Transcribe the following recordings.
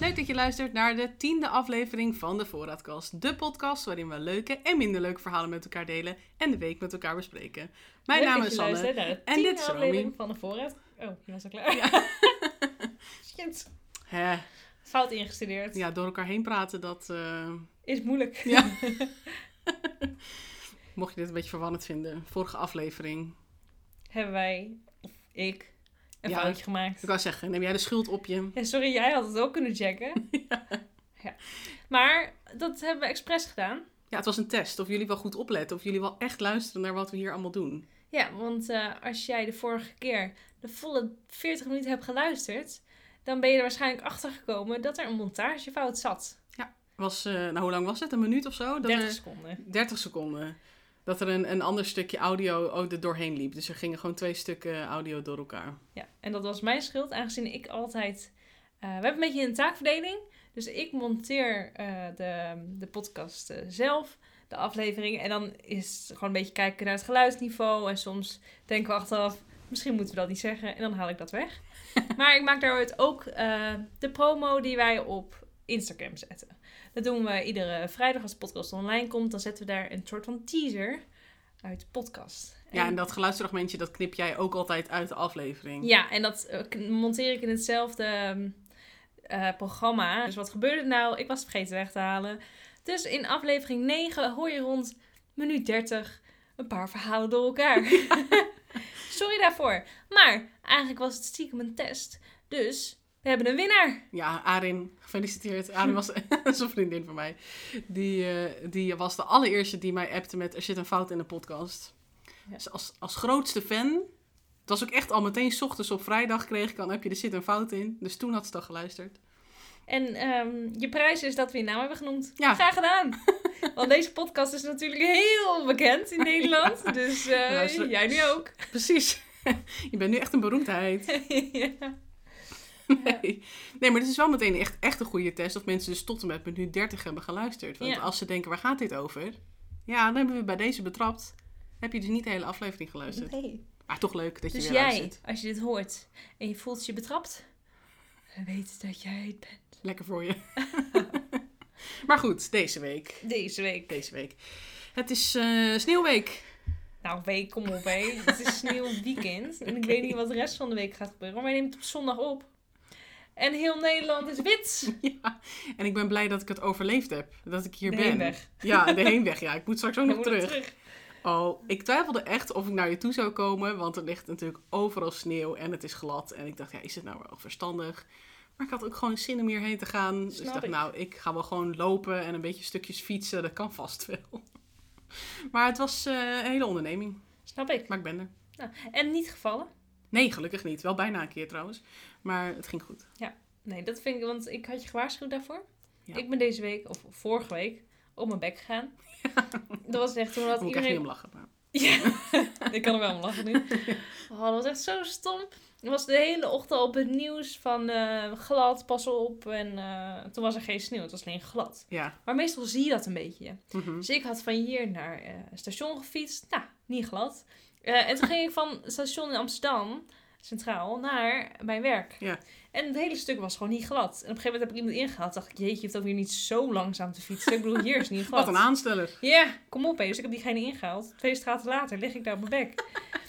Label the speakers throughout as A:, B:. A: Leuk dat je luistert naar de tiende aflevering van de Voorraadkast. De podcast waarin we leuke en minder leuke verhalen met elkaar delen en de week met elkaar bespreken. Mijn
B: Leuk
A: naam
B: dat
A: is
B: je
A: Sanne.
B: luistert naar de
A: en
B: tiende
A: dit is Romy.
B: aflevering van de voorraad. Oh, je was al klaar.
A: Ja.
B: Shit.
A: Hè,
B: Fout ingestudeerd.
A: ja, door elkaar heen praten, dat... eh,
B: Is moeilijk.
A: Ja. mocht je dit een beetje verwarrend vinden, vorige aflevering.
B: Hebben wij, of ik, een
A: Ja.
B: foutje gemaakt.
A: Ik wou zeggen, neem jij de schuld op je?
B: Ja, sorry, jij had het ook kunnen checken. ja. Maar dat hebben we expres gedaan.
A: Ja, het was een test. Of jullie wel goed opletten, of jullie wel echt luisteren naar wat we hier allemaal doen.
B: Ja, want eh, als jij de vorige keer de volle 40 minuten hebt geluisterd, dan ben je er waarschijnlijk achter gekomen dat er een montagefout zat.
A: Was, eh, nou, hoe lang was het? Een minuut of zo? Dat
B: 30
A: er-
B: seconden.
A: 30 seconden. Dat er een, een ander stukje audio ook er doorheen liep. Dus er gingen gewoon twee stukken audio door elkaar.
B: Ja, en dat was mijn schuld, aangezien ik altijd. eh, we hebben een beetje een taakverdeling. Dus ik monteer eh, de, de podcast eh, zelf, de aflevering. En dan is het gewoon een beetje kijken naar het geluidsniveau. En soms denken we achteraf, misschien moeten we dat niet zeggen. En dan haal ik dat weg. maar ik maak daaruit ook eh, de promo die wij op Instagram zetten. Dat doen we iedere vrijdag als de podcast online komt. Dan zetten we daar een soort van teaser uit de podcast.
A: Ja, en dat geluidsfragmentje, dat knip jij ook altijd uit de aflevering.
B: Ja, en dat eh, k- monteer ik in hetzelfde ehm, eh, programma. Dus wat gebeurde er nou? Ik was het vergeten weg te halen. Dus in aflevering 9 hoor je rond minuut 30 een paar verhalen door elkaar. Sorry daarvoor. Maar eigenlijk was het stiekem een test. Dus we hebben een winnaar.
A: Ja, Arin, gefeliciteerd. Arin was dat is een vriendin van mij. Die, eh, die was de allereerste die mij appte met er zit een fout in de podcast.
B: Ja.
A: Dus als, als grootste fan, het was ook echt al meteen 's ochtends op vrijdag kreeg ik dan heb je er zit een fout in. Dus toen had ze dan geluisterd.
B: En ehm, je prijs is dat we je naam hebben genoemd.
A: Ja.
B: Graag gedaan. Want deze podcast is natuurlijk heel bekend in Nederland. Dus eh,
A: Luister-
B: jij nu ook.
A: Precies. je bent nu echt een beroemdheid.
B: ja.
A: Nee. nee, maar het is wel meteen echt, echt een goede test of mensen dus tot en met minuut 30 hebben geluisterd. Want
B: Ja.
A: als ze denken, waar gaat dit over? Ja, dan hebben we bij deze betrapt. Heb je dus niet de hele aflevering geluisterd.
B: Nee.
A: Maar toch leuk dat je
B: Dus
A: weer
B: jij,
A: luistert.
B: als je dit hoort en je voelt je betrapt, we weten dat jij het bent.
A: Lekker voor je. maar goed, deze week.
B: Deze week.
A: Deze week. Het is eh, sneeuwweek.
B: Nou, week, kom op, hé. Het is sneeuwweekend. En ik weet niet wat de rest van de week gaat gebeuren, maar wij nemen het op zondag op. En heel Nederland is wit.
A: Ja. En ik ben blij dat ik het overleefd heb. Dat ik hier
B: De
A: ben.
B: heenweg.
A: Ja, de heenweg. Ja, ik moet straks ook
B: We
A: nog
B: moeten
A: terug. Oh, ik twijfelde echt of ik naar je toe zou komen, want er ligt natuurlijk overal sneeuw en het is glad. En ik dacht, ja, is het nou wel verstandig? Maar ik had ook gewoon zin om hierheen te gaan. dus ik
B: Snap
A: dacht,
B: ik.
A: nou, ik ga wel gewoon lopen en een beetje stukjes fietsen. Dat kan vast wel. Maar het was eh, een hele onderneming.
B: Snap ik.
A: Maar ik ben er.
B: Nou, en niet gevallen.
A: Nee, gelukkig niet. Wel bijna een keer trouwens. Maar het ging goed.
B: Nee, dat vind ik, want ik had je gewaarschuwd daarvoor.
A: Ja.
B: Ik ben deze week, of vorige week, op mijn bek gegaan. Dat was echt, toen had
A: Daar moet ik echt
B: iedereen
A: niet om lachen. Maar...
B: Ja, ik kan er wel om lachen nu. Oh, dat was echt zo stom. Ik was de hele ochtend op het nieuws van eh, glad, pas op. En eh, toen was er geen sneeuw, het was alleen glad.
A: Ja.
B: Maar meestal zie je dat een beetje.
A: Mhm.
B: Dus ik had van hier naar eh, het station gefietst. Nou, niet glad. Eh, en toen ging ik van het station in Amsterdam, centraal, naar mijn werk.
A: Ja.
B: En het hele stuk was gewoon niet glad. En op een gegeven moment heb ik iemand ingehaald. dacht ik, jeetje, je hoeft ook weer niet zo langzaam te fietsen. Ik bedoel, hier is niet glad.
A: Wat een aansteller.
B: Ja, kom op hé. Dus ik heb diegene ingehaald. Twee straten later lig ik daar op mijn bek.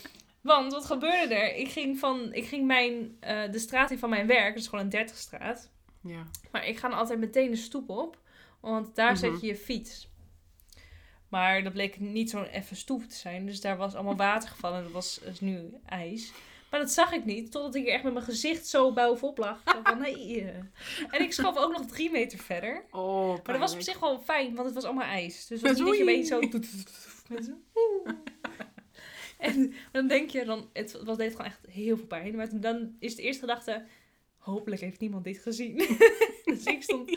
B: Want wat gebeurde er? Ik ging, van, ik ging mijn, eh, de straat in van mijn werk, dus gewoon een 30 straat.
A: Ja.
B: Maar ik ga dan altijd meteen de stoep op, want daar zet
A: Mhm.
B: je je fiets. Maar dat bleek niet zo'n effen stoep te zijn. Dus daar was allemaal water gevallen en dat was is nu ijs. Maar dat zag ik niet, totdat ik er echt met mijn gezicht zo bovenop lag. Zo van, nee. eh. En ik schoof ook nog drie meter verder.
A: Oh,
B: Maar dat was op zich wel fijn, want het was allemaal ijs. Dus het
A: Met
B: was niet dat je
A: oei.
B: weet zo... met zo- En dan denk je, dan, het was, deed gewoon echt heel veel pijn. Maar toen- dan is de eerste gedachte, hopelijk heeft niemand dit gezien. dus ik stond,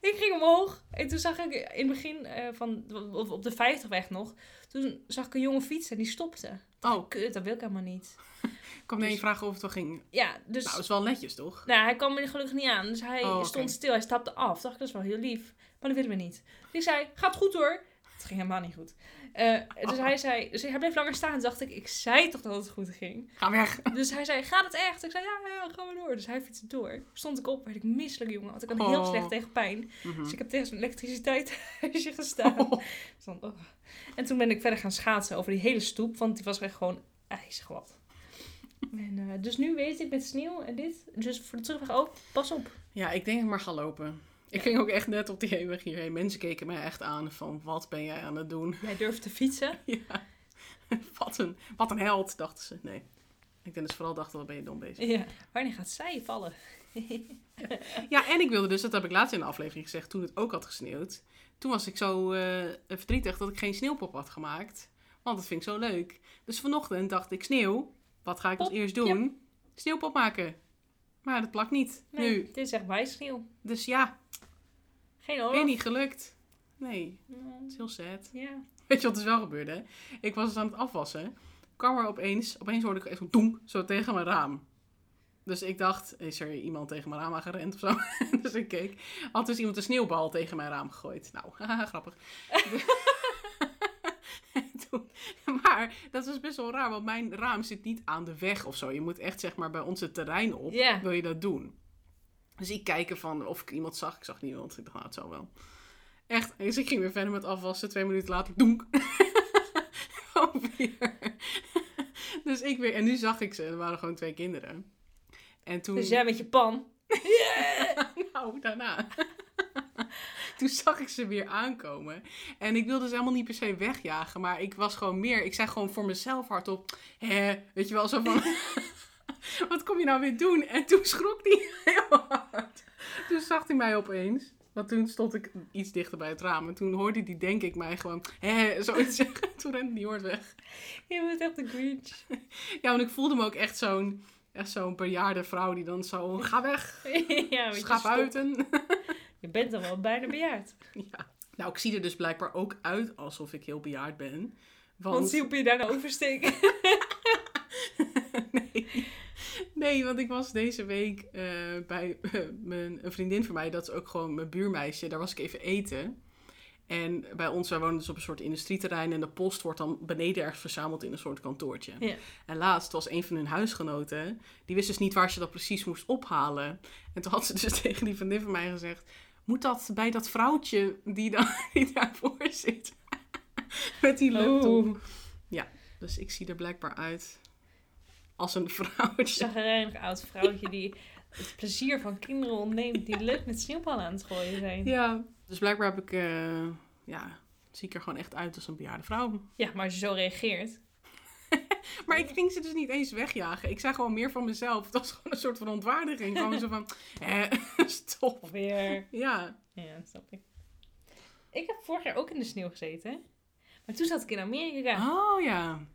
B: ik ging omhoog. En toen zag ik in het begin eh, van, op, op de 50-weg nog, toen zag ik een jonge fietsen en die stopte.
A: Oh,
B: Kut, dat wil ik helemaal niet.
A: ik kwam nee vragen of het wel ging.
B: Ja, dus...
A: Nou, is wel netjes toch?
B: Nou, hij kwam er gelukkig niet aan. Dus hij
A: Oh, oké.
B: stond stil. Hij stapte af. Dacht ik, dat is wel heel lief. Maar dat willen we niet. Dus ik zei, gaat goed hoor. Het ging helemaal niet goed. Eh, dus
A: Oh.
B: hij zei, dus hij bleef langer staan. Toen dacht ik, ik zei toch dat het goed ging.
A: Ga weg.
B: Dus hij zei, gaat het echt? Ik zei, ja, ja, gaan we door. Dus hij fietste door. Stond ik op, werd ik misselijk, jongen. Want ik had heel
A: Oh.
B: slecht tegen pijn.
A: Mhm.
B: Dus ik heb tegen zo'n elektriciteitshuisje gestaan. Dus dan, oh. En toen ben ik verder gaan schaatsen over die hele stoep, want die was echt gewoon ijsglad. En, eh, dus nu weet ik met sneeuw en dit. Dus voor de terugweg ook, pas op.
A: Ja, ik denk ik maar ga lopen. Ik ging ook echt net op die heenweg hierheen. Mensen keken mij echt aan van wat ben jij aan het doen?
B: Jij durft te fietsen.
A: Ja. Wat een, wat een held, dachten ze. Nee. Ik denk dus vooral dachten, wat ben je dom bezig.
B: Ja. Wanneer gaat zij vallen?
A: Ja, en ik wilde dus, dat heb ik laatst in de aflevering gezegd, toen het ook had gesneeuwd. Toen was ik zo eh, verdrietig dat ik geen sneeuwpop had gemaakt. Want dat vind ik zo leuk. Dus vanochtend dacht ik, sneeuw, wat ga ik als
B: Pop,
A: eerst doen? Sneeuwpop maken. Maar dat plakt niet,
B: Nee,
A: nu.
B: dit is echt wijsnieuw.
A: Dus ja,
B: Geen
A: weer
B: oorlog.
A: niet gelukt. Nee,
B: Mm,
A: het is heel sad.
B: Ja.
A: Weet je wat dus wel gebeurde? hè? Ik was dus aan het afwassen. Kwam er opeens, opeens hoorde ik echt zo'n doem, zo tegen mijn raam. Dus ik dacht, is er iemand tegen mijn raam aangerend of zo? dus ik keek. Had dus iemand een sneeuwbal tegen mijn raam gegooid. Nou, haha, grappig. En toen- maar dat is best wel raar, want mijn raam zit niet aan de weg of zo. Je moet echt zeg maar bij ons het terrein op,
B: Ja.
A: wil je dat doen. Dus ik kijken van of ik iemand zag. Ik zag niemand. Ik dacht, nou, het zal wel. Echt. Dus ik ging weer verder met afwassen. Twee minuten later, doenk. Ook weer. dus ik weer. En nu zag ik ze. Er waren gewoon twee kinderen. En toen...
B: Dus jij met je pan.
A: Nou, daarna. Toen zag ik ze weer aankomen. En ik wilde ze helemaal niet per se wegjagen. Maar ik was gewoon meer... Ik zei gewoon voor mezelf hardop... Hè, weet je wel, zo van... Wat kom je nou weer doen? En toen schrok die heel hard. Toen zag hij mij opeens. Want toen stond ik iets dichter bij het raam. En toen hoorde die, denk ik, mij gewoon... Hè, zoiets zeggen. Toen rende die hoort weg.
B: Je bent echt een Grinch.
A: Ja, want ik voelde me ook echt zo'n... Echt zo'n bejaarde vrouw die dan zo... Ga weg,
B: ja, met je
A: schap
B: stok.
A: uiten.
B: Je bent dan wel bijna bejaard.
A: Ja. Nou, ik zie er dus blijkbaar ook uit alsof ik heel bejaard ben. Want,
B: Want zie op je daarna oversteken.
A: nee. nee, want ik was deze week eh, bij eh, mijn, een vriendin van mij, dat is ook gewoon mijn buurmeisje, daar was ik even eten. En bij ons, wij wonen dus op een soort industrieterrein en de post wordt dan beneden ergens verzameld in een soort kantoortje.
B: Ja.
A: En laatst was een van hun huisgenoten, die wist dus niet waar ze dat precies moest ophalen. En toen had ze dus tegen die vriendin van mij gezegd, moet dat bij dat vrouwtje die, dan, die daarvoor zit? Met die laptop.
B: Oeh,
A: Dus ik zie er blijkbaar uit als een vrouwtje.
B: chagrijnig oud vrouwtje die het plezier van kinderen ontneemt die leuk met sneeuwballen aan het gooien zijn.
A: Ja. Dus blijkbaar heb ik, eh, ja, zie ik er gewoon echt uit als een bejaarde vrouw.
B: Ja, maar als je zo reageert.
A: Maar ik ging ze dus niet eens wegjagen. Ik zei gewoon meer van mezelf. Het was gewoon een soort verontwaardiging. Gewoon zo van, eh, stop.
B: Of weer.
A: Ja.
B: Ja, dat snap ik. Ik heb vorig jaar ook in de sneeuw gezeten. hè. Maar toen zat ik in Amerika.
A: Oh ja.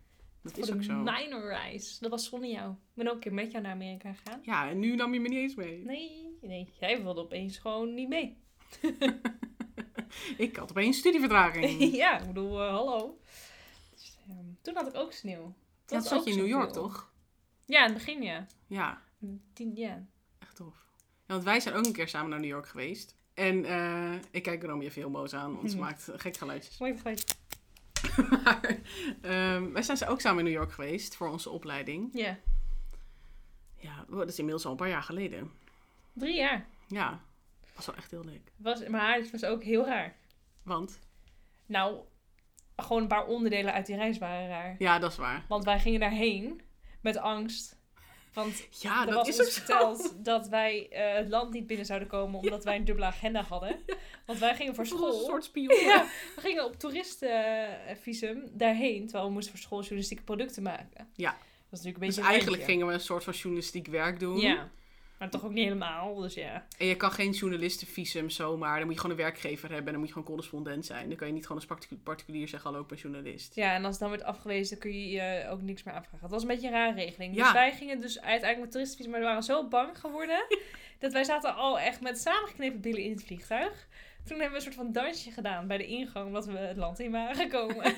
A: Dat
B: voor
A: is
B: de
A: ook zo.
B: minor reis. Dat was zonder jou. Ik ben ook een keer met jou naar Amerika gegaan.
A: Ja, en nu nam je me niet eens mee.
B: Nee, nee. Jij wilde opeens gewoon niet mee.
A: Ik had opeens studievertraging.
B: ja, ik bedoel, eh, hallo. Dus, ehm, toen had ik ook sneeuw. Toen
A: Dat
B: had ik
A: zat
B: ook
A: je in New York,
B: zoveel.
A: toch?
B: Ja, in het begin ja.
A: Ja.
B: Tien, ja.
A: Echt tof. Ja, want wij zijn ook een keer samen naar New York geweest. En eh, ik kijk Romy even heel boos aan, want ze
B: Mhm.
A: maakt gek geluidjes.
B: Mooi vergelijking.
A: Maar ehm, wij zijn ze ook samen in New York geweest voor onze opleiding.
B: Ja,
A: Ja, wow, dat is inmiddels al een paar jaar geleden.
B: drie jaar.
A: Ja, was wel echt heel leuk.
B: Was, maar het was ook heel raar.
A: Want,
B: Nou, gewoon een paar onderdelen uit die reis waren raar.
A: ja, dat is waar.
B: Want wij gingen daarheen met angst. Want
A: Ja, Ah, dat
B: er was
A: is ook
B: ons
A: zo.
B: verteld dat wij eh, het land niet binnen zouden komen omdat wij een dubbele agenda hadden. Want wij gingen voor
A: Ik voel ons
B: school.
A: Een soort spion.
B: Ja, we gingen op toeristenvisum daarheen, terwijl we moesten voor school journalistieke producten maken.
A: Ja.
B: Dat is natuurlijk een
A: Dus
B: beetje
A: eigenlijk
B: een
A: gingen we een soort van journalistiek werk doen.
B: randje. Ja, maar toch ook niet helemaal, dus ja.
A: En je kan geen journalistenvisum zomaar. Dan moet je gewoon een werkgever hebben. En dan moet je gewoon correspondent zijn. Dan kan je niet gewoon als particu- particulier zeggen: Hallo, ik ben journalist.
B: Ja, en als het dan werd afgewezen, dan kun je je ook niks meer aanvragen. Dat was een beetje een rare regeling.
A: Ja.
B: Dus wij gingen dus uiteindelijk met toeristenvisum, maar we waren zo bang geworden, dat wij zaten al echt met samengeknepen billen in het vliegtuig. Toen hebben we een soort van dansje gedaan bij de ingang, omdat we het land in waren gekomen.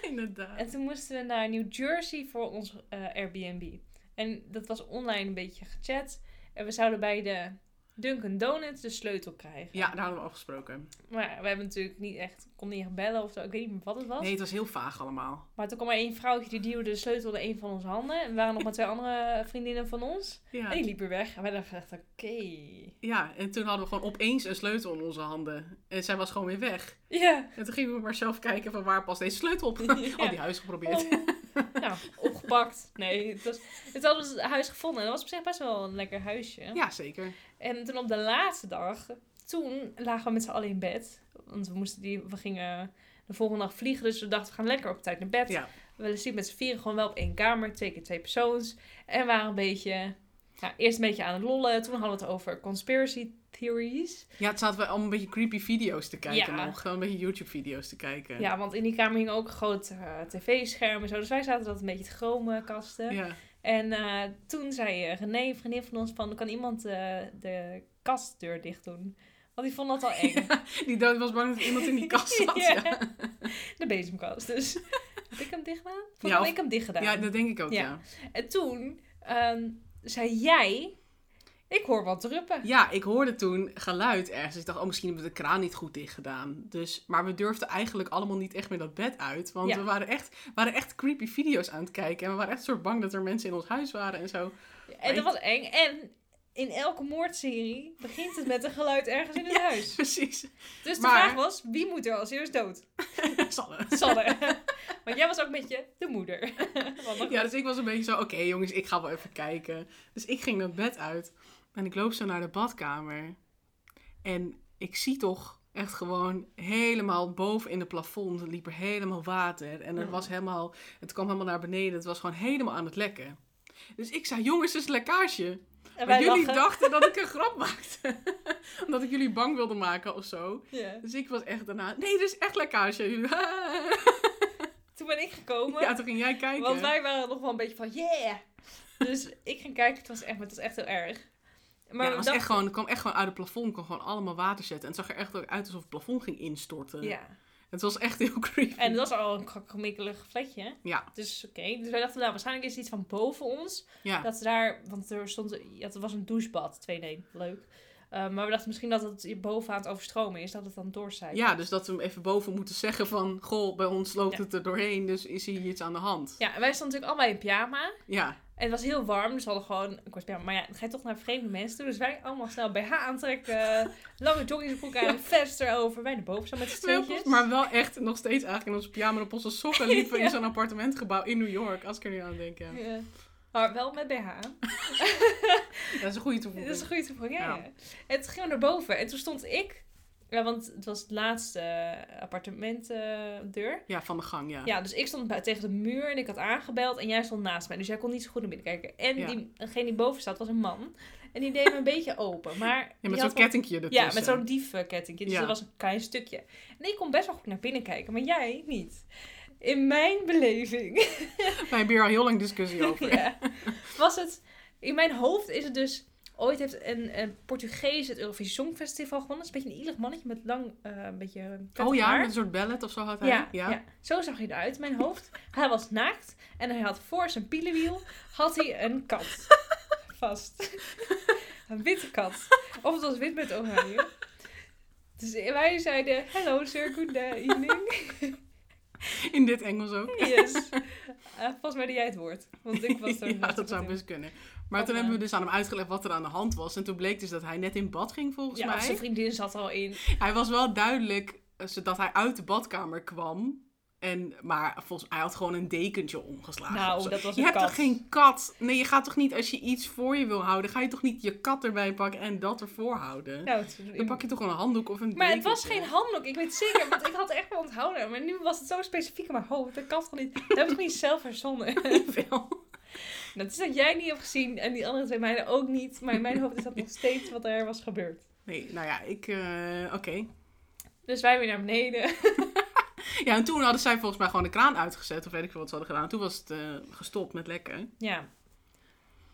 A: Inderdaad.
B: En toen moesten we naar New Jersey voor ons eh, Airbnb. En dat was online een beetje gechat. En we zouden bij de Dunkin' Donuts de sleutel krijgen.
A: Ja, daar hadden we afgesproken.
B: Maar ja, we hebben natuurlijk niet echt, kon niet echt bellen of zo. Ik weet niet meer wat het was.
A: Nee, het was heel vaag allemaal.
B: Maar toen kwam er één vrouwtje die duwde de sleutel in een van onze handen. En we waren nog met twee andere vriendinnen van ons.
A: Ja.
B: En die liep weer weg. En wij dachten echt, oké.
A: ja, en toen hadden we gewoon opeens een sleutel in onze handen. En zij was gewoon weer weg.
B: Ja.
A: En toen gingen we maar zelf kijken van waar past deze sleutel op. Al die huis geprobeerd.
B: Oh. Nou, opgepakt. Nee, het, was, het hadden we het huis gevonden. En dat was op zich best wel een lekker huisje.
A: Ja, zeker.
B: En toen op de laatste dag, toen lagen we met z'n allen in bed. Want we, moesten die, we gingen de volgende dag vliegen, dus we dachten we gaan lekker op tijd naar bed.
A: Ja.
B: We sliepen met z'n vieren gewoon wel op één kamer, twee keer twee persoons. En waren een beetje, nou, eerst een beetje aan het lollen. Toen hadden we het over conspiracy theories.
A: Ja, het zaten we om een beetje creepy video's te kijken
B: Ja.
A: nog. Gewoon een beetje YouTube video's te kijken.
B: Ja, want in die kamer hing ook een groot eh, tv-scherm en zo. Dus wij zaten dat een beetje te chroomkasten.
A: Ja.
B: En eh, toen zei eh, René, een vriendin van ons, van kan iemand eh, de kastdeur dicht doen? Want die vond dat al eng.
A: Die dood was bang dat iemand in die kast zat. ja.
B: Ja. De bezemkast. Dus heb ik hem dicht gedaan? Volgens mij
A: Ja,
B: heb
A: of-
B: ik hem dicht gedaan.
A: Ja, dat denk ik ook,
B: Ja.
A: ja. Ja,
B: En toen ehm, zei jij, ik hoor wat druppen.
A: ik hoorde toen geluid ergens. Ik dacht, oh, misschien hebben we de kraan niet goed dicht gedaan. Dus, maar we durfden eigenlijk allemaal niet echt meer dat bed uit. Want
B: Ja.
A: we waren echt, waren echt creepy video's aan het kijken. En we waren echt soort bang dat er mensen in ons huis waren en zo.
B: En dat was eng. En in elke moordserie begint het met een geluid ergens in het huis.
A: Precies.
B: Dus de
A: maar-
B: vraag was, wie moet er als eerst dood?
A: Sanne.
B: Sanne. Want jij was ook met je de moeder. Want dan-
A: Ja, dus ik was een beetje zo, oké jongens, ik ga wel even kijken. Dus ik ging dat bed uit en ik loop zo naar de badkamer. En ik zie toch echt gewoon helemaal boven in het plafond liep er helemaal water. En er
B: Mm.
A: was helemaal, het kwam helemaal naar beneden. Het was gewoon helemaal aan het lekken. Dus ik zei, jongens, het is lekkage.
B: en
A: Maar jullie
B: lachen.
A: dachten dat ik een grap maakte. Omdat ik jullie bang wilde maken of zo.
B: Ja.
A: Dus ik was echt daarna, nee, er is echt lekkage. Jullie,
B: Toen ben ik gekomen.
A: Ja, toen ging jij kijken.
B: Want wij waren nog wel een beetje van, yeah! Dus ik ging kijken, het was echt, het was echt heel erg.
A: ja,
B: Maar we
A: het, was
B: dachten-
A: echt gewoon, het kwam echt gewoon uit het plafond. kwam gewoon allemaal water zetten. En het zag er echt ook uit alsof het plafond ging instorten.
B: Ja,
A: Het was echt heel creepy.
B: en dat was al een krakkemikkelig flatje.
A: Ja.
B: Dus oké, dus wij dachten, nou, waarschijnlijk is het iets van boven ons.
A: Ja.
B: Dat ze daar, want er stond, ja, het was een douchebad, 2 1 leuk. Eh, maar we dachten misschien dat het hier boven aan het overstromen is, dat het dan doorzijdt.
A: ja, dus dat we hem even boven moeten zeggen van... Goh, bij ons loopt
B: Ja.
A: het er doorheen, dus is hier iets aan de hand.
B: Ja, en wij stonden natuurlijk allemaal in pyjama.
A: Ja,
B: En het was heel warm, dus we hadden gewoon een kort pyjama. Maar ja, dan ga je toch naar vreemde mensen toe. Dus wij allemaal snel BH aantrekken, lange joggingsbroek aan, vest erover. Wij naar boven zo met z'n
A: Wel,
B: tweetjes.
A: maar wel echt nog steeds eigenlijk in onze pyjama en op onze sokken liepen we
B: Ja.
A: in zo'n appartementgebouw in New York. Als ik er nu aan denk, ja.
B: Ja. Maar wel met BH.
A: Dat is een goede
B: Dat
A: toevoeging.
B: is een goede toevoeging. Ja.
A: Ja.
B: ja. En toen gingen we naar boven. En toen stond ik... Ja, want het was het laatste eh, appartementdeur.
A: Ja, van de gang, ja.
B: ja, dus ik stond bij, tegen de muur en ik had aangebeld. En jij stond naast mij. Dus jij kon niet zo goed naar binnen kijken. En
A: Ja.
B: die, degene die boven zat was een man. En die deed me een beetje open. Maar
A: Ja, met
B: die had
A: zo'n
B: wel-
A: kettingje ertussen.
B: Ja, met zo'n dievenkettingje. Dus
A: Ja.
B: dat was een klein stukje. En ik kon best wel goed naar binnen kijken. Maar jij niet. In mijn beleving...
A: Wij hebben hier al heel lang discussie over.
B: Ja. Was het... In mijn hoofd is het dus... Ooit heeft een, een Portugees het Eurovisie Songfestival gewonnen. Dat is een beetje een ielig mannetje met lang, eh, een beetje
A: Oh
B: prettig
A: ja,
B: haar.
A: met een soort ballet of zo had hij.
B: Ja, ja. zo zag hij eruit in mijn hoofd. Hij was naakt en hij had voor zijn pielenwiel had hij een kat vast. Een witte kat. Of het was wit met oranje. Dus wij zeiden, hello sir, good day, evening.
A: In dit Engels ook.
B: Yes. Eh, volgens mij deed jij het woord. Want ik was er
A: ja, dat zou best kunnen. Maar
B: Of,
A: toen hebben
B: eh,
A: we dus aan hem uitgelegd wat er aan de hand was. En toen bleek dus dat hij net in bad ging, volgens
B: Ja, of zijn
A: mij.
B: vriendin zat al in.
A: Hij was wel duidelijk eh, dat hij uit de badkamer kwam. En, maar volgens hij had gewoon een dekentje omgeslagen.
B: Nou,
A: of zo.
B: dat was
A: je
B: een
A: hebt
B: kat.
A: toch geen kat? Nee, je gaat toch niet als je iets voor je wil houden, ga je toch niet je kat erbij pakken en dat ervoor houden?
B: Nou, toen-
A: Dan pak je toch gewoon een handdoek of een
B: Maar het was geen
A: dekentje?
B: handdoek, ik weet zeker, want ik had echt wel onthouden. Maar nu was het zo specifiek in mijn hoofd, dat kan toch niet. Dat heb ik gewoon niet zelf verzonnen.
A: Wel.
B: Dat is dat jij niet hebt gezien en die andere twee meiden ook niet. Maar in mijn hoofd is dat nog steeds wat er was gebeurd.
A: Nee, nou ja, ik... eh, Oké.
B: Dus wij weer naar beneden.
A: Ja, en toen hadden zij volgens mij gewoon de kraan uitgezet. Of weet ik veel wat ze hadden gedaan. Toen was het eh, gestopt met lekken.
B: Ja.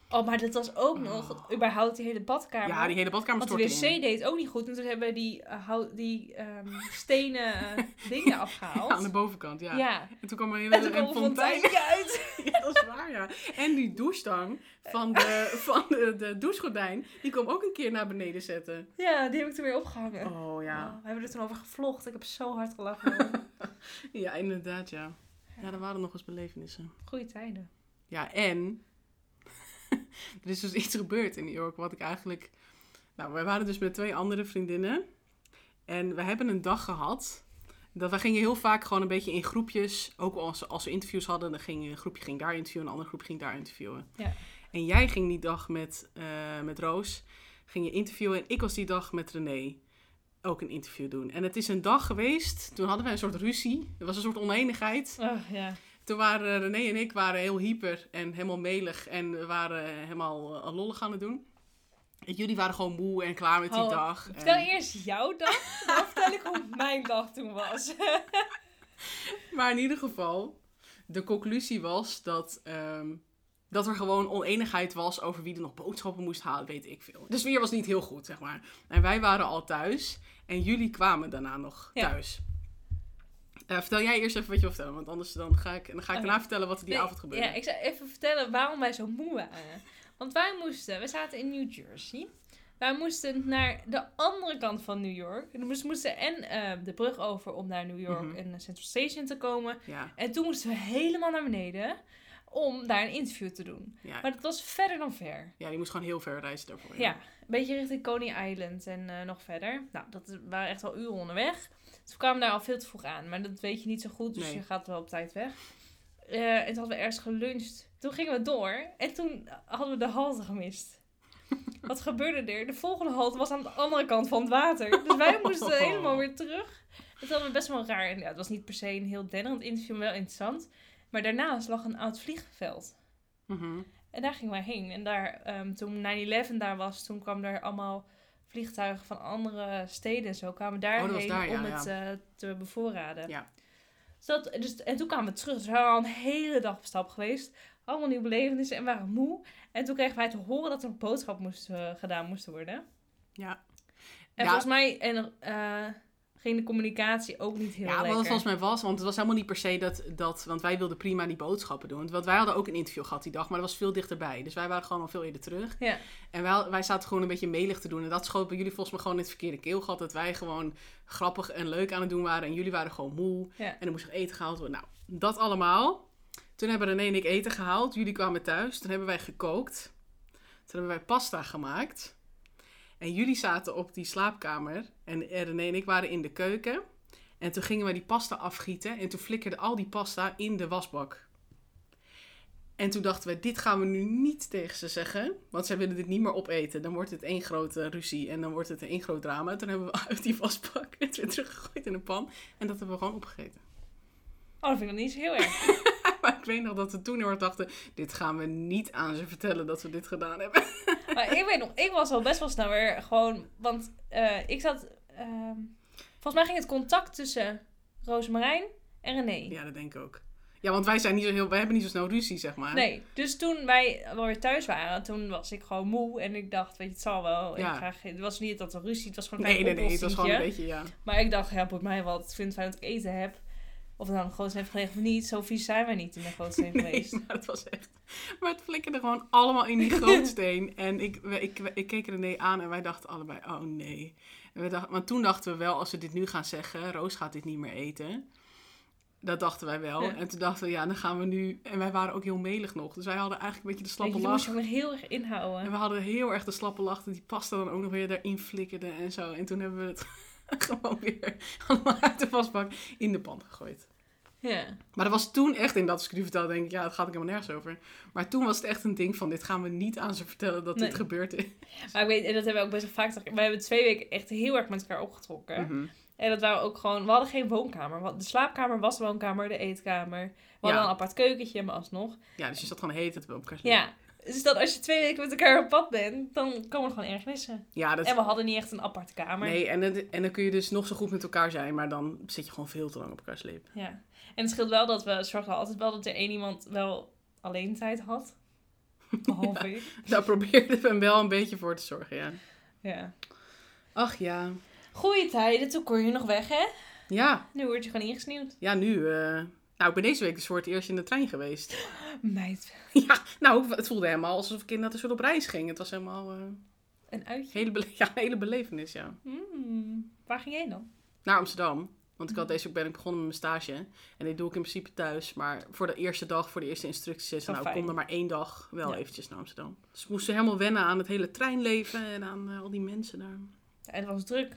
B: Oh, maar dat was ook nog überhaupt die hele badkamer.
A: Ja, die hele badkamer
B: Want de
A: stortte
B: wc
A: in.
B: deed het ook niet goed. En toen hebben we die, eh, hout- die ehm, stenen eh, dingen
A: Ja,
B: afgehaald.
A: aan de bovenkant, ja.
B: ja.
A: En toen kwam er een
B: En toen
A: hele een
B: kwam een
A: fontein.
B: fonteintje uit.
A: Ja, dat is waar, ja. En En die douchestang van, de, van de, de douchegordijn, die kwam ook een keer naar beneden zetten.
B: Ja, die heb ik toen weer opgehangen.
A: Oh
B: Oh, we hebben er toen over gevlogd. Ik heb zo hard gelachen.
A: Ja, inderdaad, ja. Ja, er waren nog eens belevenissen.
B: Goeie tijden.
A: Ja, en er is dus iets gebeurd in New York wat ik eigenlijk... Nou, wij waren dus met twee andere vriendinnen. En we hebben een dag gehad. Dat wij gingen heel vaak gewoon een beetje in groepjes. Ook als, als we interviews hadden, dan ging een groepje ging daar interviewen, een ander groepje ging daar interviewen.
B: Ja.
A: En jij ging die dag met, eh, met Roos, ging je interviewen. En ik was die dag met René ook een interview doen. En het is een dag geweest, toen hadden wij een soort ruzie. Er was een soort oneenigheid.
B: Oh, ja.
A: Toen waren eh, René en ik waren heel hyper en helemaal melig en we waren helemaal eh, lollig aan het doen. En jullie waren gewoon moe en klaar met die
B: Oh,
A: dag.
B: Vertel
A: En-
B: eerst jouw dag, dan vertel ik hoe mijn dag toen was.
A: Maar in ieder geval, de conclusie was dat, ehm, dat er gewoon oneenigheid was over wie er nog boodschappen moest halen, weet ik veel. De sfeer was niet heel goed, zeg maar. En wij waren al thuis en jullie kwamen daarna nog
B: Ja.
A: thuis. Eh, vertel jij eerst even wat je wil vertellen, want anders dan ga ik, dan ga ik
B: Oké.
A: daarna vertellen wat er die
B: Oh. Nee,
A: avond gebeurde.
B: Ja, ik zou even vertellen waarom wij zo moe waren. Want wij moesten, we zaten in New Jersey. Wij moesten naar de andere kant van New York. En we moesten en eh, de brug over om naar New York
A: Mhm.
B: en naar Central Station te komen.
A: ja,
B: En toen moesten we helemaal naar beneden om daar een interview te doen.
A: ja.
B: Maar dat was verder dan ver.
A: ja, je moest gewoon heel ver reizen daarvoor.
B: Ja, een beetje richting Coney Island en eh, nog verder. Nou, dat waren echt al uren onderweg. Dus we kwamen daar al veel te vroeg aan. Maar dat weet je niet zo goed, dus
A: Nee.
B: je gaat wel op tijd weg. Eh, en toen hadden we ergens geluncht. Toen gingen we door en toen hadden we de halte gemist. Wat gebeurde er? De volgende halte was aan de andere kant van het water. Dus wij moesten
A: Oh.
B: helemaal weer terug. Dat hadden we best wel raar. En ja, het was niet per se een heel denderend interview, maar wel interessant. Maar daarnaast lag een oud vliegveld.
A: Mhm.
B: En daar gingen wij heen. En daar, ehm, toen 9-11 daar was, toen kwamen er allemaal vliegtuigen van andere steden en zo. Kwamen daarheen
A: Oh, was daar, ja,
B: om
A: ja.
B: het eh, te bevoorraden.
A: Ja.
B: Dus dat, dus, en toen kwamen we terug. Dus we waren al een hele dag op stap geweest. Allemaal nieuwe belevenissen en waren moe. En toen kregen wij te horen dat er een boodschap moest, eh, gedaan moest worden.
A: Ja.
B: En
A: Ja.
B: volgens mij en, eh, ging de communicatie ook niet heel
A: ja,
B: lekker.
A: wat het volgens mij was, want het was helemaal niet per se dat, dat... Want wij wilden prima die boodschappen doen. Want wij hadden ook een interview gehad die dag, maar dat was veel dichterbij. Dus wij waren gewoon al veel eerder terug.
B: Ja.
A: En wij, wij zaten gewoon een beetje melig te doen. En dat schoot bij jullie volgens mij gewoon in het verkeerde keelgat. Dat wij gewoon grappig en leuk aan het doen waren. En jullie waren gewoon moe.
B: Ja.
A: En er moest nog eten gehaald worden. Nou, dat allemaal. Toen hebben René en ik eten gehaald. Jullie kwamen thuis. Toen hebben wij gekookt. Toen hebben wij pasta gemaakt. En jullie zaten op die slaapkamer. En René en ik waren in de keuken. En toen gingen wij die pasta afgieten. En toen flikkerde al die pasta in de wasbak. En toen dachten we, dit gaan we nu niet tegen ze zeggen. Want zij willen dit niet meer opeten. Dan wordt het één grote ruzie en dan wordt het één groot drama. Toen hebben we uit die wasbak het weer teruggegooid in een pan. En dat hebben we gewoon opgegeten.
B: Oh, dat vind ik nog niet zo heel erg.
A: Maar ik weet nog dat we toen heel hard dachten, dit gaan we niet aan ze vertellen dat we dit gedaan hebben.
B: Maar ik weet nog, ik was al best wel snel weer gewoon. Want eh, ik zat. ehm, volgens mij ging het contact tussen Roosmarijn en René.
A: Ja, dat denk ik ook. Ja, want wij zijn niet zo heel, wij hebben niet zo snel ruzie, zeg maar.
B: Nee, dus toen wij wel weer thuis waren, toen was ik gewoon moe en ik dacht, weet je, het zal wel.
A: Ja.
B: Ik ga, geen- het was niet dat er ruzie, het was gewoon een
A: Nee, nee, nee, het was gewoon een
B: oplossingetje.
A: beetje, ja.
B: Maar ik dacht, ja, boeit mij wat, ik vind het fijn dat ik eten heb. Of het nou een grootsteen heeft gelegen of niet, zo vies zijn wij niet in de grootsteen
A: Nee,
B: geweest.
A: maar het was echt... Maar het flikkerde gewoon allemaal in die grootsteen. en ik, we- ik, we- ik keek René aan en wij dachten allebei, oh nee. En we dacht, maar toen dachten we wel, als we dit nu gaan zeggen, Roos gaat dit niet meer eten. Dat dachten wij wel.
B: Ja.
A: En toen dachten we, ja, dan gaan we nu... En wij waren ook heel melig nog. Dus wij hadden eigenlijk een beetje de
B: Weet
A: slappe
B: je, je moest
A: lach.
B: je ook nog heel erg inhouden.
A: En we hadden heel erg de slappe lach dat die pasta dan ook nog weer daarin flikkerde en zo. En toen hebben we het gewoon weer allemaal uit de wasbak in de pan gegooid.
B: Ja.
A: Maar dat was toen echt, en dat is ik nu vertel, denk ik, ja, dat gaat ik helemaal nergens over. Maar toen was het echt een ding van, dit gaan we niet aan ze vertellen dat dit
B: Nee.
A: gebeurd is.
B: Maar ik weet, en dat hebben we ook best wel vaak gezegd. We hebben twee weken echt heel erg met elkaar opgetrokken.
A: Mhm.
B: En dat waren ook gewoon... We hadden geen woonkamer. Want De slaapkamer was de woonkamer, de eetkamer. We hadden
A: Ja.
B: een apart keukentje, maar alsnog.
A: Ja, dus je zat gewoon heet het op elkaar. te doen.
B: Ja. Dus dat als je twee weken met elkaar op pad bent, dan komen er gewoon ergernissen.
A: ja dat,
B: En we hadden niet echt een aparte kamer.
A: nee, en, het- en dan kun je dus nog zo goed met elkaar zijn, maar dan zit je gewoon veel te lang op elkaar sleep.
B: Ja. En het scheelt wel dat we zorgden altijd wel dat er één iemand wel alleen tijd had. Behalve ik.
A: Daar probeerden we hem wel een beetje voor te zorgen, ja.
B: Ja.
A: Ach ja,
B: Goeie tijden, toen kon je nog weg, hè?
A: ja,
B: Nu word je gewoon ingesneeuwd.
A: ja nu... eh, Nou, ik ben deze week dus voor het eerst in de trein geweest.
B: Meid,
A: ja, nou, het voelde helemaal alsof ik inderdaad een soort op reis ging. Het was helemaal eh, een
B: een uitje.
A: hele, bele- ja, een hele belevenis, ja.
B: Mm, waar ging je heen dan?
A: Naar Amsterdam. Want ik had
B: Mhm.
A: deze week ben ik begonnen met mijn stage. En dit doe ik in principe thuis. Maar voor de eerste dag, voor de eerste instructies, is
B: Wel
A: nou, ik
B: Oh, fijn.
A: kom er maar één dag wel
B: Ja.
A: eventjes naar Amsterdam. Dus ik moest helemaal wennen aan het hele treinleven en aan eh, al die mensen daar.
B: Ja, het was druk.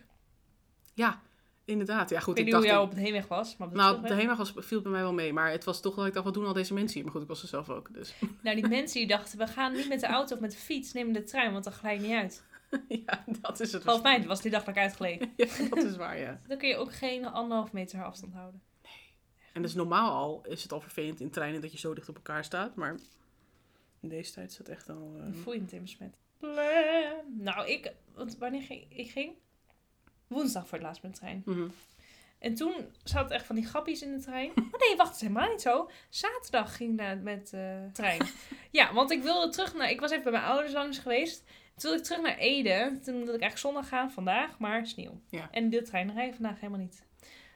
A: Ja, inderdaad. Ja, goed,
B: ik weet
A: ik
B: niet hoe
A: dacht...
B: jou
A: ik-
B: op de heenweg was, maar op de
A: Nou, de
B: terugweg-
A: heenweg was, viel bij mij wel mee. Maar het was toch wel, ik dacht, wat doen al deze mensen hier? Maar goed, ik was er zelf ook, dus...
B: Nou, die mensen die dachten, we gaan niet met de auto of met de fiets, neem de trein, want dan glij je niet uit.
A: ja, dat is het.
B: Geloof mij, het was die dag dat ik uitgeleed.
A: Ja, dat is waar, ja.
B: Dan kun je ook geen anderhalf meter afstand houden.
A: En dat is normaal al, is het al vervelend in treinen dat je zo dicht op elkaar staat. Maar in deze tijd is dat echt al... eh,
B: Dan voel je het in besmet. Bleh. Nou, ik, want wanneer ging ik? ging woensdag voor het laatst met de trein.
A: mhm.
B: En toen zat echt van die grappies in de trein. Oh nee, wacht, het is helemaal niet zo. Zaterdag ging ik naar- met eh, de trein. Ja, want ik wilde terug naar... Ik was even bij mijn ouders langs geweest. Toen wilde ik terug naar Ede. Toen wilde ik eigenlijk zondag gaan, vandaag, maar sneeuw.
A: Ja.
B: En de trein rijden vandaag helemaal niet.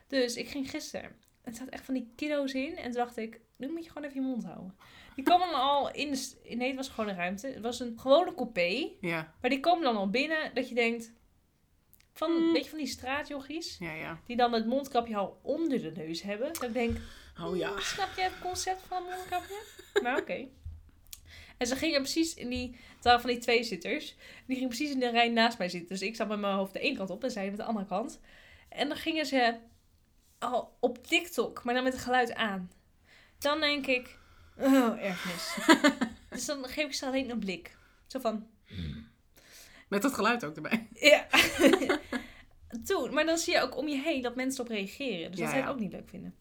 B: Dus ik ging gisteren. Het zat echt van die kiddo's in. En toen dacht ik, nu moet je gewoon even je mond houden. Die kwamen dan al in de... s- Nee, het was gewoon een ruimte. Het was een gewone coupé.
A: Ja,
B: Maar die komen dan al binnen dat je denkt... Van,
A: Mm.
B: Weet je, van die straatjochies
A: ja, ja.
B: die dan het mondkapje al onder de neus hebben. Dat ik denk,
A: Oh ja.
B: "Hmm, snap jij het concept van een mondkapje? maar oké. En ze gingen precies in die, het waren van die tweezitters, die gingen precies in de rij naast mij zitten. Dus ik zat met mijn hoofd de ene kant op en zij met de andere kant. En dan gingen ze al op TikTok, maar dan met het geluid aan. Dan denk ik, oh, ergernis. dus dan geef ik ze alleen een blik. Zo van,
A: Met dat geluid ook erbij.
B: ja. Toen, maar dan zie je ook om je heen dat mensen op reageren. Dus
A: Ja,
B: dat zou
A: ja.
B: ik ook niet leuk vinden.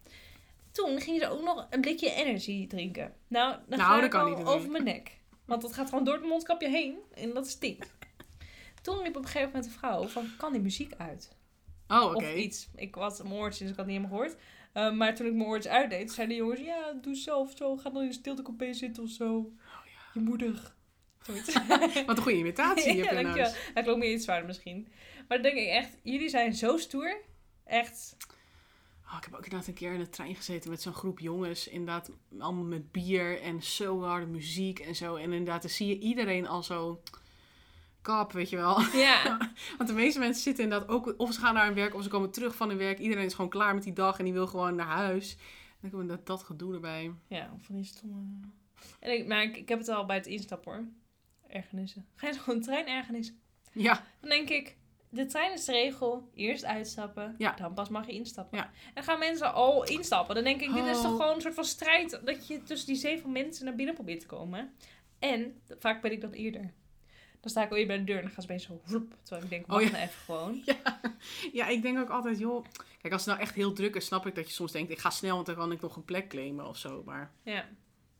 B: Toen gingen ze ook nog een blikje energy drinken. Nou, dan
A: Nou,
B: ga
A: dat
B: ik
A: kan
B: al
A: niet natuurlijk.
B: over mijn nek. Want dat gaat gewoon door het mondkapje heen. En dat stinkt. Toen liep op een gegeven moment een vrouw van, kan die muziek uit?
A: Oh, oké.
B: Of iets. Ik had mijn oortjes, dus ik had niet helemaal gehoord. Eh, maar toen ik mijn oortjes uitdeed, zeiden de jongens, ja, doe zelf zo. Ga dan in de stiltecoupé zitten of zo.
A: Oh,
B: Je moeder. Zoiets.
A: Wat een goede imitatie heb je
B: Ja,
A: nou
B: dankjewel. Hij klonk meer iets zwaarder misschien. Maar dan denk ik echt, jullie zijn zo stoer. Echt.
A: Oh, ik heb ook inderdaad een keer in de trein gezeten met zo'n groep jongens. Inderdaad, allemaal met bier en zo harde muziek en zo. En inderdaad, dan zie je iedereen al zo... Kap, weet je wel.
B: Ja.
A: Want de meeste mensen zitten inderdaad ook... Of ze gaan naar hun werk, of ze komen terug van hun werk. Iedereen is gewoon klaar met die dag en die wil gewoon naar huis. En dan komt inderdaad dat gedoe erbij.
B: Ja, van die stomme... En ik, maar ik, ik heb het al bij het instappen hoor. Ergernissen. Ga je gewoon trein ergernis?
A: Ja,
B: Dan denk ik, de trein is de regel. Eerst uitstappen,
A: Ja.
B: dan pas mag je instappen.
A: Ja.
B: En dan gaan mensen al instappen. Dan denk ik, dit is toch
A: Oh.
B: gewoon een soort van strijd... dat je tussen die zeven mensen naar binnen probeert te komen. En vaak ben ik dat eerder. Dan sta ik alweer bij de deur en dan gaan ze opeens zo... Roep, terwijl ik denk,
A: Oh,
B: wacht
A: ja.
B: nou even gewoon.
A: ja, ik denk ook altijd, joh... Kijk, als het nou echt heel druk is, snap ik dat je soms denkt... Ik ga snel, want dan kan ik nog een plek claimen of zo. Maar
B: Ja.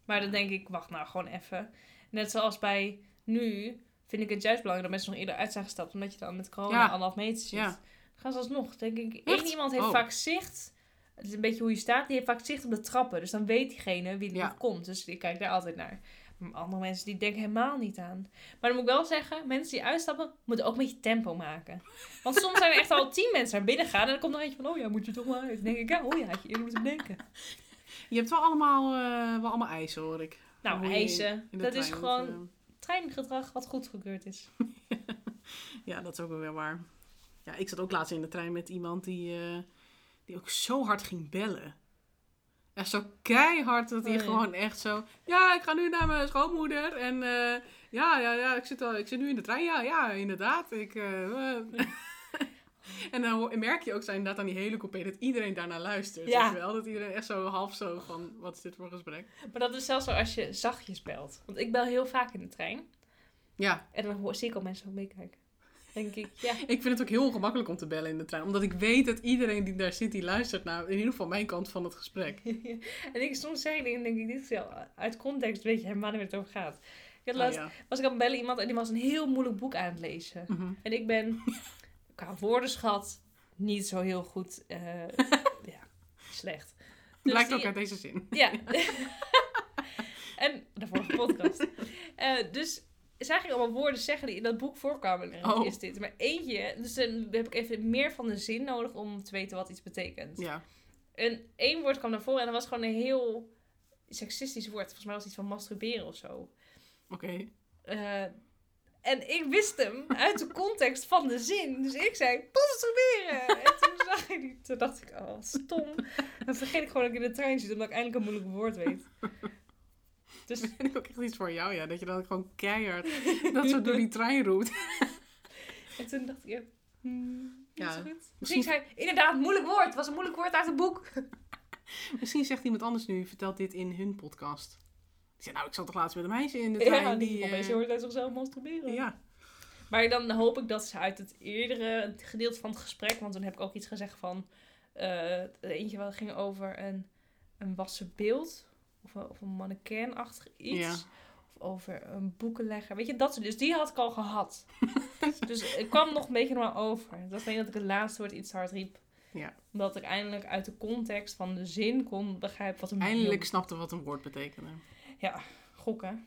B: Maar dan denk ik, wacht nou gewoon even. Net zoals bij nu vind ik het juist belangrijk dat mensen nog eerder uit zijn gestapt. Omdat je dan met corona
A: Ja.
B: anderhalf meter zit.
A: Ja.
B: Dan gaan ze alsnog. Denk ik,
A: Echt?
B: één iemand heeft
A: Oh.
B: vaak zicht. Het is een beetje hoe je staat. Die heeft vaak zicht op de trappen. Dus dan weet diegene wie er
A: Ja.
B: nog komt. Dus ik kijk daar altijd naar. Maar andere mensen die denken helemaal niet aan. Maar dan moet ik wel zeggen, mensen die uitstappen, moeten ook een beetje tempo maken. Want soms zijn er echt al tien mensen naar binnen gaan. En dan komt er eentje van, oh ja, moet je toch maar uit. Dan denk ik, ja, oh ja, had je eerder moeten bedenken.
A: je hebt wel allemaal, eh, wel allemaal eisen, hoor ik.
B: Nou,
A: Hoe je in-
B: eisen.
A: in de
B: dat is
A: trein,
B: gewoon
A: want, eh,
B: treingedrag wat goedgekeurd is.
A: eh, Ja, dat is ook wel weer waar. Ja, ik zat ook laatst in de trein met iemand die, eh, die ook zo hard ging bellen. Echt zo keihard dat hij
B: Oh, ja.
A: gewoon echt zo... Ja, ik ga nu naar mijn schoonmoeder. En eh, ja, ja, ja ik, zit al, ik zit nu in de trein. Ja, ja inderdaad. Ik, eh, eh." en dan ho- merk je ook zo inderdaad aan die hele coupé... dat iedereen daarnaar luistert.
B: Ja.
A: weet je wel? Dat iedereen echt zo half zo van... Wat is dit voor gesprek?
B: Maar dat is zelfs zo als je zachtjes belt. Want ik bel heel vaak in de trein.
A: Ja,
B: En dan hoor, zie ik al mensen ook meekijken. Denk ik, ja.
A: ik vind het ook heel ongemakkelijk om te bellen in de trein. Omdat ik weet dat iedereen die daar zit... die luistert naar in ieder geval mijn kant van het gesprek.
B: en ik soms zeg ik dingen, denk ik, dit is wel uit context, weet je helemaal niet waar het over gaat. Ik had laatst,
A: Oh, ja.
B: was ik aan het bellen iemand en die was een heel moeilijk boek aan het lezen.
A: Mhm.
B: En ik ben qua woordenschat niet zo heel goed, eh, ja, slecht. Dus
A: Blijkt
B: die-
A: ook uit deze zin.
B: Ja. en de vorige podcast. Eh, dus zag ik allemaal woorden zeggen die in dat boek voorkwamen. En
A: Oh.
B: Is dit maar eentje. Dus dan heb ik even meer van de zin nodig om te weten wat iets betekent.
A: Ja.
B: een één woord kwam naar voren en dat was gewoon een heel seksistisch woord. Volgens mij was het iets van masturberen of zo.
A: Oké.
B: Eh, en ik wist hem uit de context van de zin. Dus ik zei, masturberen! En toen zag hij die. Toen dacht ik, oh, stom. Dan vergeet ik gewoon dat ik in de trein zit, omdat ik eindelijk een moeilijk woord weet. Dus
A: Vind ik ook echt iets voor jou, ja. Dat je dan gewoon keihard dat zo door die trein roept.
B: En toen dacht ik, ja, hmm, niet
A: Ja,
B: zo goed. Misschien
A: misschien-
B: zei hij, inderdaad, moeilijk woord. Het was een moeilijk woord uit het boek.
A: Misschien zegt iemand anders nu, vertelt dit in hun podcast. Ik zei, nou, ik zat toch laatst met een meisje in de trein.
B: Ja, die
A: eh,
B: opeens hoort hij zichzelf masturberen.
A: Ja,
B: Maar dan hoop ik dat ze uit het eerdere gedeelte van het gesprek... Want toen heb ik ook iets gezegd van... eh, eentje wat ging over een, een wassen beeld. Of een, of een mannequin-achtig iets.
A: Ja.
B: Of over een boekenlegger. Weet je, dat soort. Dus die had ik al gehad. dus ik kwam nog een beetje normaal over. Dat was alleen dat ik het laatste woord iets te hard riep.
A: Ja.
B: Omdat ik eindelijk uit de context van de zin kon begrijpen wat een
A: eindelijk snapte wat een woord betekende.
B: Ja, gokken.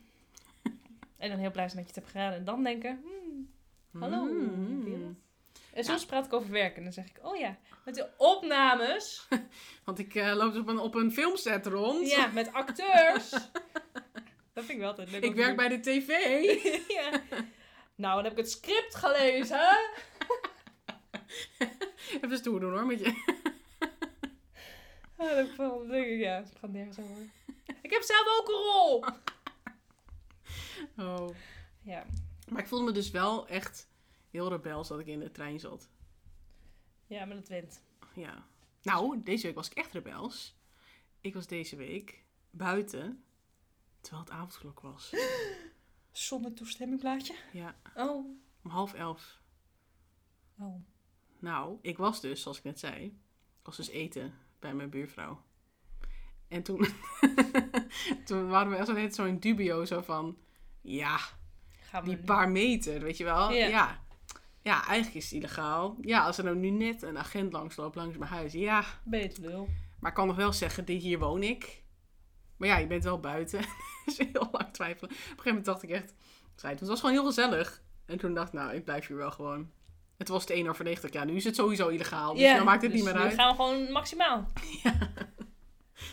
B: en dan heel blij zijn dat je het hebt gedaan. En dan denken, hmm, hallo
A: Mm.
B: wereld. En
A: Ja.
B: soms praat ik over werk. En dan zeg ik, oh ja, met de opnames.
A: Want ik eh, loop op een, op een filmset rond.
B: ja, met acteurs. dat vind ik wel altijd leuk.
A: Ik
B: om te
A: werk
B: doen.
A: bij de tv.
B: ja. Nou, dan heb ik het script gelezen.
A: Even stoer doen hoor, met je.
B: Oh, dat valt- denk ik, ja, het gaat nergens over. Ik heb zelf ook een rol.
A: Oh.
B: Ja,
A: Maar ik voelde me dus wel echt heel rebels dat ik in de trein zat.
B: ja maar dat wint.
A: Ja. Nou, deze week was ik echt rebels. Ik was deze week buiten terwijl het avondklok was.
B: Zonder toestemming plaatje.
A: Ja,
B: Oh.
A: om half elf.
B: Oh.
A: Nou, ik was dus, zoals ik net zei, ik was dus eten bij mijn buurvrouw. En toen, toen waren we echt zo net zo'n dubio zo van, ja,
B: Gaan we
A: die
B: nu-
A: paar meter, weet je wel?
B: Ja.
A: Ja. ja. eigenlijk is het illegaal. Ja, als er nou nu net een agent langsloopt langs mijn huis, ja.
B: Beter lul.
A: Maar ik kan nog wel zeggen, die hier woon ik. Maar ja, je bent wel buiten. dus heel lang twijfelen. Op een gegeven moment dacht ik echt, zei het, want het was gewoon heel gezellig. En toen dacht ik, nou, ik blijf hier wel gewoon. Het was het 1 over 90. Ja, nu is het sowieso illegaal. Dus
B: Ja,
A: nou maakt het
B: dus
A: niet meer
B: nu
A: uit.
B: gaan we gewoon maximaal.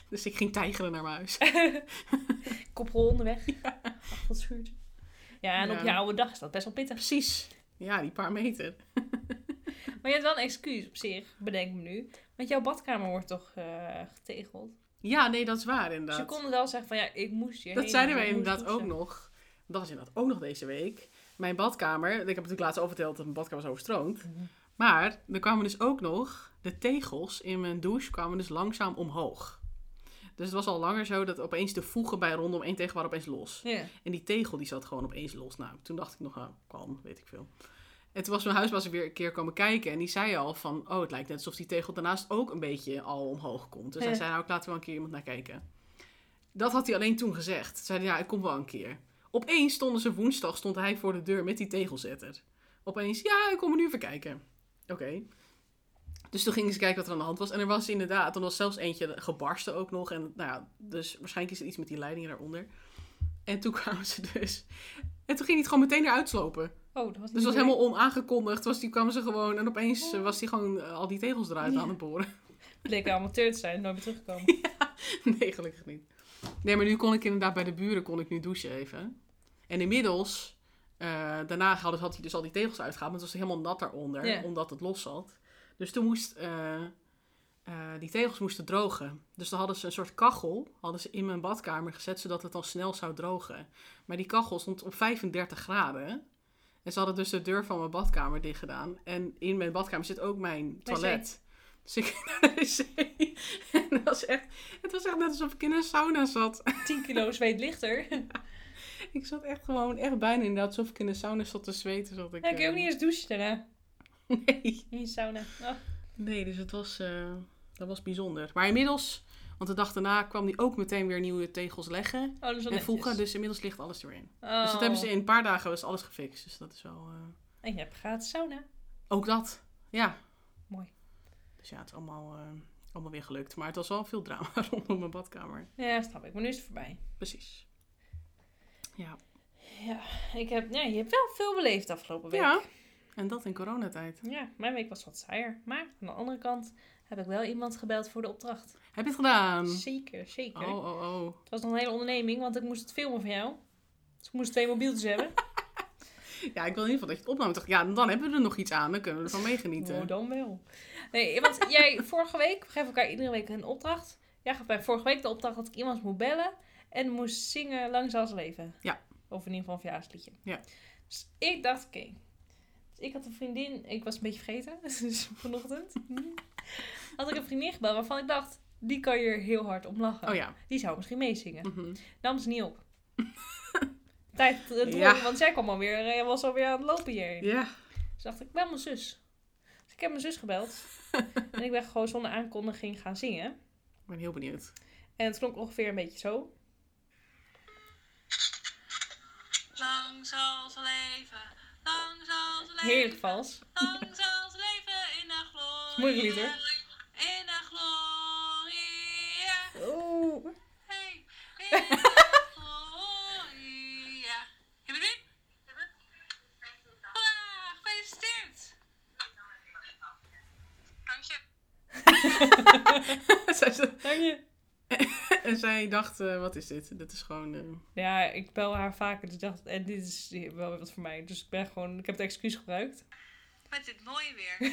A: Dus ik ging tijgeren naar mijn huis.
B: Koprol onderweg. Ach, wat schuurt. Ja, en
A: Ja.
B: op je oude dag is dat best wel pittig.
A: Precies. Ja, die paar meter.
B: Maar je hebt wel een excuus op zich, bedenk me nu. Want jouw badkamer wordt toch eh, getegeld?
A: Ja, nee, dat is waar
B: Dus je
A: inderdaad.
B: kon wel zeggen van ja, ik moest hier.
A: Dat zeiden wij inderdaad ook nog. Dat was inderdaad ook nog deze week. Mijn badkamer. Ik heb natuurlijk laatst al verteld dat mijn badkamer was overstroomd.
B: Mhm.
A: Maar er kwamen dus ook nog... De tegels in mijn douche kwamen dus langzaam omhoog. Dus het was al langer zo dat opeens de voegen bij rondom één tegel waren opeens los.
B: Ja.
A: En die tegel die zat gewoon opeens los. Nou, toen dacht ik nog, nou, kan, weet ik veel. En toen was mijn huisbaas weer een keer komen kijken. En die zei al van, oh, het lijkt net alsof die tegel daarnaast ook een beetje al omhoog komt. Dus
B: Ja.
A: hij zei, nou, ik laat er wel een keer iemand naar kijken. Dat had hij alleen toen gezegd. Toen zei hij, ja, ik kom wel een keer. Opeens stonden ze woensdag, stond hij voor de deur met die tegelzetter. Opeens, ja, ik kom er nu even kijken. Oké. Dus toen gingen ze kijken wat er aan de hand was. En er was inderdaad, er was zelfs eentje gebarsten ook nog. En nou ja, dus waarschijnlijk is er iets met die leidingen daaronder. En toen kwamen ze dus. En toen ging hij het gewoon meteen eruit slopen.
B: Oh, dat was
A: Dus het was helemaal onaangekondigd. Was die, kwamen ze gewoon en opeens eh, was hij gewoon eh, al die tegels eruit
B: Oh. Ja.
A: aan het boren.
B: Bleek wel amateur te zijn en nooit meer teruggekomen.
A: Nee, gelukkig niet. Nee, maar nu kon ik inderdaad bij de buren kon ik nu douchen even. En inmiddels, eh, daarna had, had hij dus al die tegels uitgehaald. Maar het was helemaal nat daaronder,
B: Ja.
A: omdat het los zat. Dus toen moest, eh, eh, die tegels moesten drogen. Dus dan hadden ze een soort kachel hadden ze in mijn badkamer gezet, zodat het dan snel zou drogen. Maar die kachel stond op 35 graden. En ze hadden dus de deur van mijn badkamer dicht gedaan. En in mijn badkamer zit ook mijn toilet. Dus ik ging naar de wc. En dat was echt, het was echt net alsof ik in een sauna zat.
B: 10 kilo zweet lichter.
A: Ik zat echt gewoon, echt bijna inderdaad, alsof ik in een sauna zat te zweten. Zat ik,
B: Dan kun je ook
A: eh,
B: niet eens douchen daarna.
A: Nee.
B: In je sauna. Oh, Ach.
A: Nee, dus het was, eh, dat was bijzonder. Maar inmiddels, want de dag daarna kwam hij ook meteen weer nieuwe tegels leggen.
B: Oh, dat is wel
A: En
B: netjes.
A: voegen, dus inmiddels ligt alles erin.
B: Oh.
A: Dus dat hebben ze in een paar dagen was alles gefixt. Dus dat is wel, eh,
B: En je hebt gratis sauna.
A: ook dat. Ja.
B: Mooi.
A: Dus ja, het is allemaal, eh, allemaal weer gelukt. Maar het was wel veel drama rondom mijn badkamer.
B: Ja, snap ik. Maar nu is het voorbij.
A: Precies. Ja.
B: Ja, ik heb, ja, je hebt wel veel beleefd de afgelopen week.
A: ja. En dat in coronatijd.
B: Ja, mijn week was wat saaier. Maar aan de andere kant heb ik wel iemand gebeld voor de opdracht.
A: Heb je het gedaan?
B: Zeker, zeker.
A: Ehm, Oh, oh, oh.
B: Het was nog een hele onderneming, want ik moest het filmen van jou. Dus ik moest twee mobieltjes hebben.
A: Ja, ik wil in ieder geval dat je het opnam. Ik dacht, ja, dan hebben we er nog iets aan. Dan kunnen we ervan
B: Oh,
A: meegenieten.
B: dan wel. Nee, want jij vorige week, we geven elkaar iedere week een opdracht. Jij gaf mij vorige week de opdracht dat ik iemand moest bellen en moest zingen Lang zal ze leven.
A: Ja.
B: Of in ieder geval een verjaarsliedje.
A: Ja.
B: Dus ik dacht, oké. Dus ik had een vriendin, ik was een beetje vergeten, dus vanochtend. had ik een vriendin gebeld waarvan ik dacht, die kan je er heel hard om lachen.
A: Oh ja.
B: Die zou misschien meezingen.
A: Mhm.
B: Nam ze niet op. Tijd te doen,
A: Ja.
B: want zij kwam alweer, eh, was alweer aan het lopen hierheen.
A: Ja.
B: Dus dacht ik, ik bel mijn zus. Dus ik heb mijn zus gebeld. en ik ben gewoon zonder aankondiging gaan zingen.
A: Ik ben heel benieuwd.
B: En het klonk ongeveer een beetje zo.
C: Lang zal ze leven, lang zal ze leven.
B: Heerlijk vals.
C: Lang zal ze leven in de glorie.
B: Moeilijk lied, hoor.
C: In de glorie.
B: Oeh.
C: Hey, in de glorie. Heb je het weer? Hoera, gefeliciteerd. Dank je.
A: Zij ze-
B: Dank je.
A: en zij dacht, eh, wat is dit? Dit is gewoon... eh,
B: Ja, ik bel haar vaker. Dus ik dacht, en dit is wel weer wat voor mij. Dus ik ben gewoon, ik heb het excuus gebruikt.
C: Met dit mooie weer.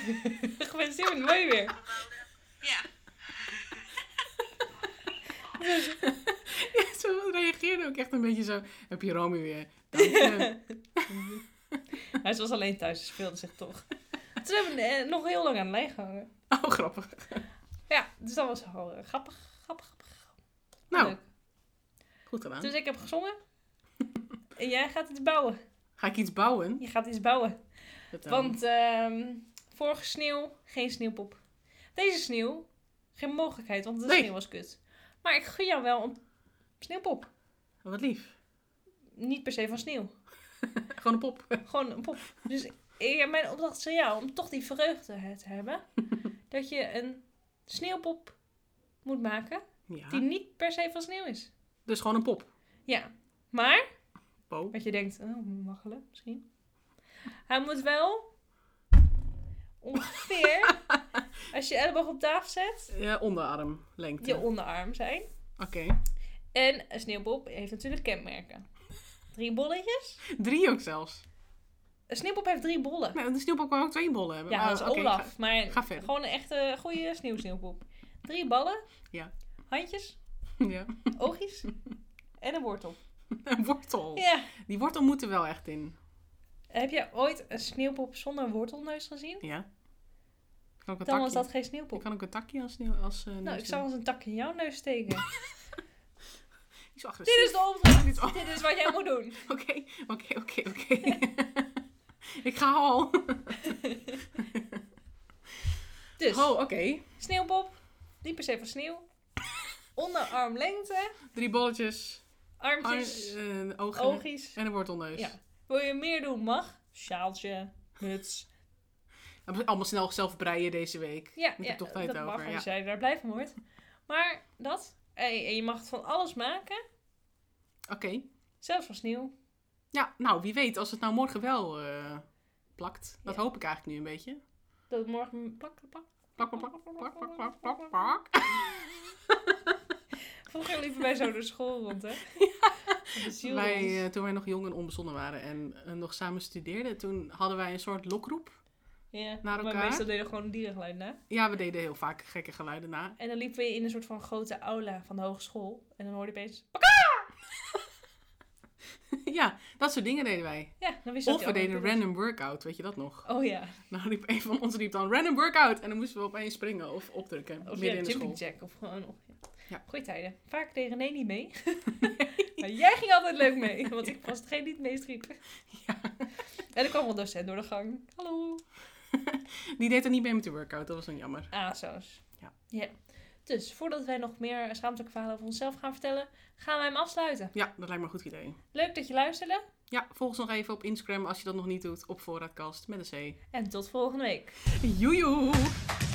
B: Gefeliciteerd met het mooie weer.
C: Ja.
A: Ja, ze reageerde ook echt een beetje zo... Heb je Romy weer? Dank je.
B: Hij was alleen thuis, dus speelde zich toch. Toen hebben we eh, nog heel lang aan de lijn gehangen.
A: Oh, grappig.
B: Ja, dus dat was wel eh, grappig, grappig, grappig.
A: Nou,
B: Leuk.
A: goed gedaan.
B: Dus ik heb gezongen. en jij gaat iets bouwen.
A: Ga ik iets bouwen?
B: Je gaat iets bouwen.
A: Vertel.
B: Want ehm, vorige sneeuw, geen sneeuwpop. Deze sneeuw, geen mogelijkheid, want de
A: Nee.
B: sneeuw was kut. Maar ik gun jou wel een sneeuwpop.
A: Wat lief.
B: Niet per se van sneeuw.
A: Gewoon een pop.
B: Gewoon een pop. Dus ik- mijn opdracht is aan jou om toch die vreugde te hebben. dat je een sneeuwpop moet maken
A: Ja.
B: die niet per se van sneeuw is.
A: Dus gewoon een pop.
B: Ja, maar
A: Po.
B: wat je denkt, oh, maggelen misschien. Hij moet wel ongeveer, als je elleboog op tafel zet,
A: Ja, onderarm. Lengte.
B: je onderarm zijn.
A: Oké.
B: En een sneeuwpop heeft natuurlijk kenmerken. Drie bolletjes.
A: Drie ook zelfs.
B: Een sneeuwpop heeft drie bollen.
A: Nee, de sneeuwpop kan ook twee bollen hebben.
B: Ja,
A: Maar,
B: dat is
A: oké,
B: Olaf.
A: ga-
B: maar
A: ga verder.
B: gewoon een echte goede sneeuwsneeuwpop. Drie ballen.
A: Ja.
B: Handjes,
A: ja.
B: oogjes en een wortel.
A: Een wortel.
B: Ja.
A: Die wortel moet er wel echt in.
B: Heb jij ooit een sneeuwpop zonder wortelneus gezien?
A: Ja. Kan ook een
B: Dan was
A: takje.
B: dat geen sneeuwpop.
A: Kan ook een takje als sneeuw. Als, eh,
B: Nou,
A: neus
B: ik
A: doen.
B: zal eens een tak in jouw neus steken.
A: Die is wel agressief.
B: Dit is de opdracht.
A: Dit is- oh,
B: Dit is wat jij moet doen.
A: Oké, oké, oké, oké. Ik ga al.
B: Dus,
A: Oh, oké.
B: sneeuwpop. Niet per se van sneeuw. Onderarmlengte.
A: Drie bolletjes,
B: Armpjes.
A: ar- eh, ogen
B: Oogies.
A: en een wortelneus.
B: Ja. Wil je meer doen, mag. Sjaaltje, muts.
A: Allemaal snel zelf breien deze week.
B: Ja,
A: Moet
B: ja
A: ik toch tijd
B: dat mag
A: over. Ja.
B: als jij daar blij van wordt. Maar dat, en en je mag het van alles maken,
A: Oké.
B: zelfs van sneeuw.
A: Ja, nou wie weet als het nou morgen wel eh, plakt. Dat
B: Ja.
A: hoop ik eigenlijk nu een beetje.
B: Dat het morgen plak, plak.
A: Plak, plak, plak, plak, plak, plak, plak, plak.
B: Vroeger liepen wij zo door school rond, hè? De ziel
A: Wij,
B: ons.
A: eh, toen wij nog jong en onbezonnen waren en eh, nog samen studeerden, toen hadden wij een soort lokroep.
B: ja,
A: naar
B: maar
A: elkaar.
B: meestal deden we gewoon een dierengeluid na.
A: Ja, we deden heel vaak gekke geluiden na.
B: En dan liepen we in een soort van grote aula van de hogeschool. En dan hoorde je opeens...
A: ja, dat soort dingen deden wij.
B: Ja, dan wist je
A: Of we
B: dat die
A: deden
B: ander
A: een
B: binnen
A: random workout, weet je dat nog?
B: was. Oh ja,
A: Nou, riep een van ons riep dan random workout. En dan moesten we opeens springen of opdrukken.
B: of
A: midden
B: ja,
A: in de
B: jumping
A: school.
B: jack. Of gewoon... Of,
A: Ja.
B: Goeie tijden. Vaak deed René niet mee. Maar jij ging altijd leuk mee, want ik was degene die het meest riep.
A: Ja.
B: En er kwam wel een docent door de gang. Hallo.
A: Die deed er niet mee met de workout, dat was dan jammer.
B: ASO's.
A: Ja.
B: Ah, Dus voordat wij nog meer schaamtelijke verhalen over onszelf gaan vertellen, gaan wij hem afsluiten.
A: Ja, dat lijkt me een goed idee.
B: Leuk dat je luisterde
A: Ja, volg ons nog even op Instagram als je dat nog niet doet. Op voorraadkast met een C.
B: en tot volgende week.
A: Joejoe!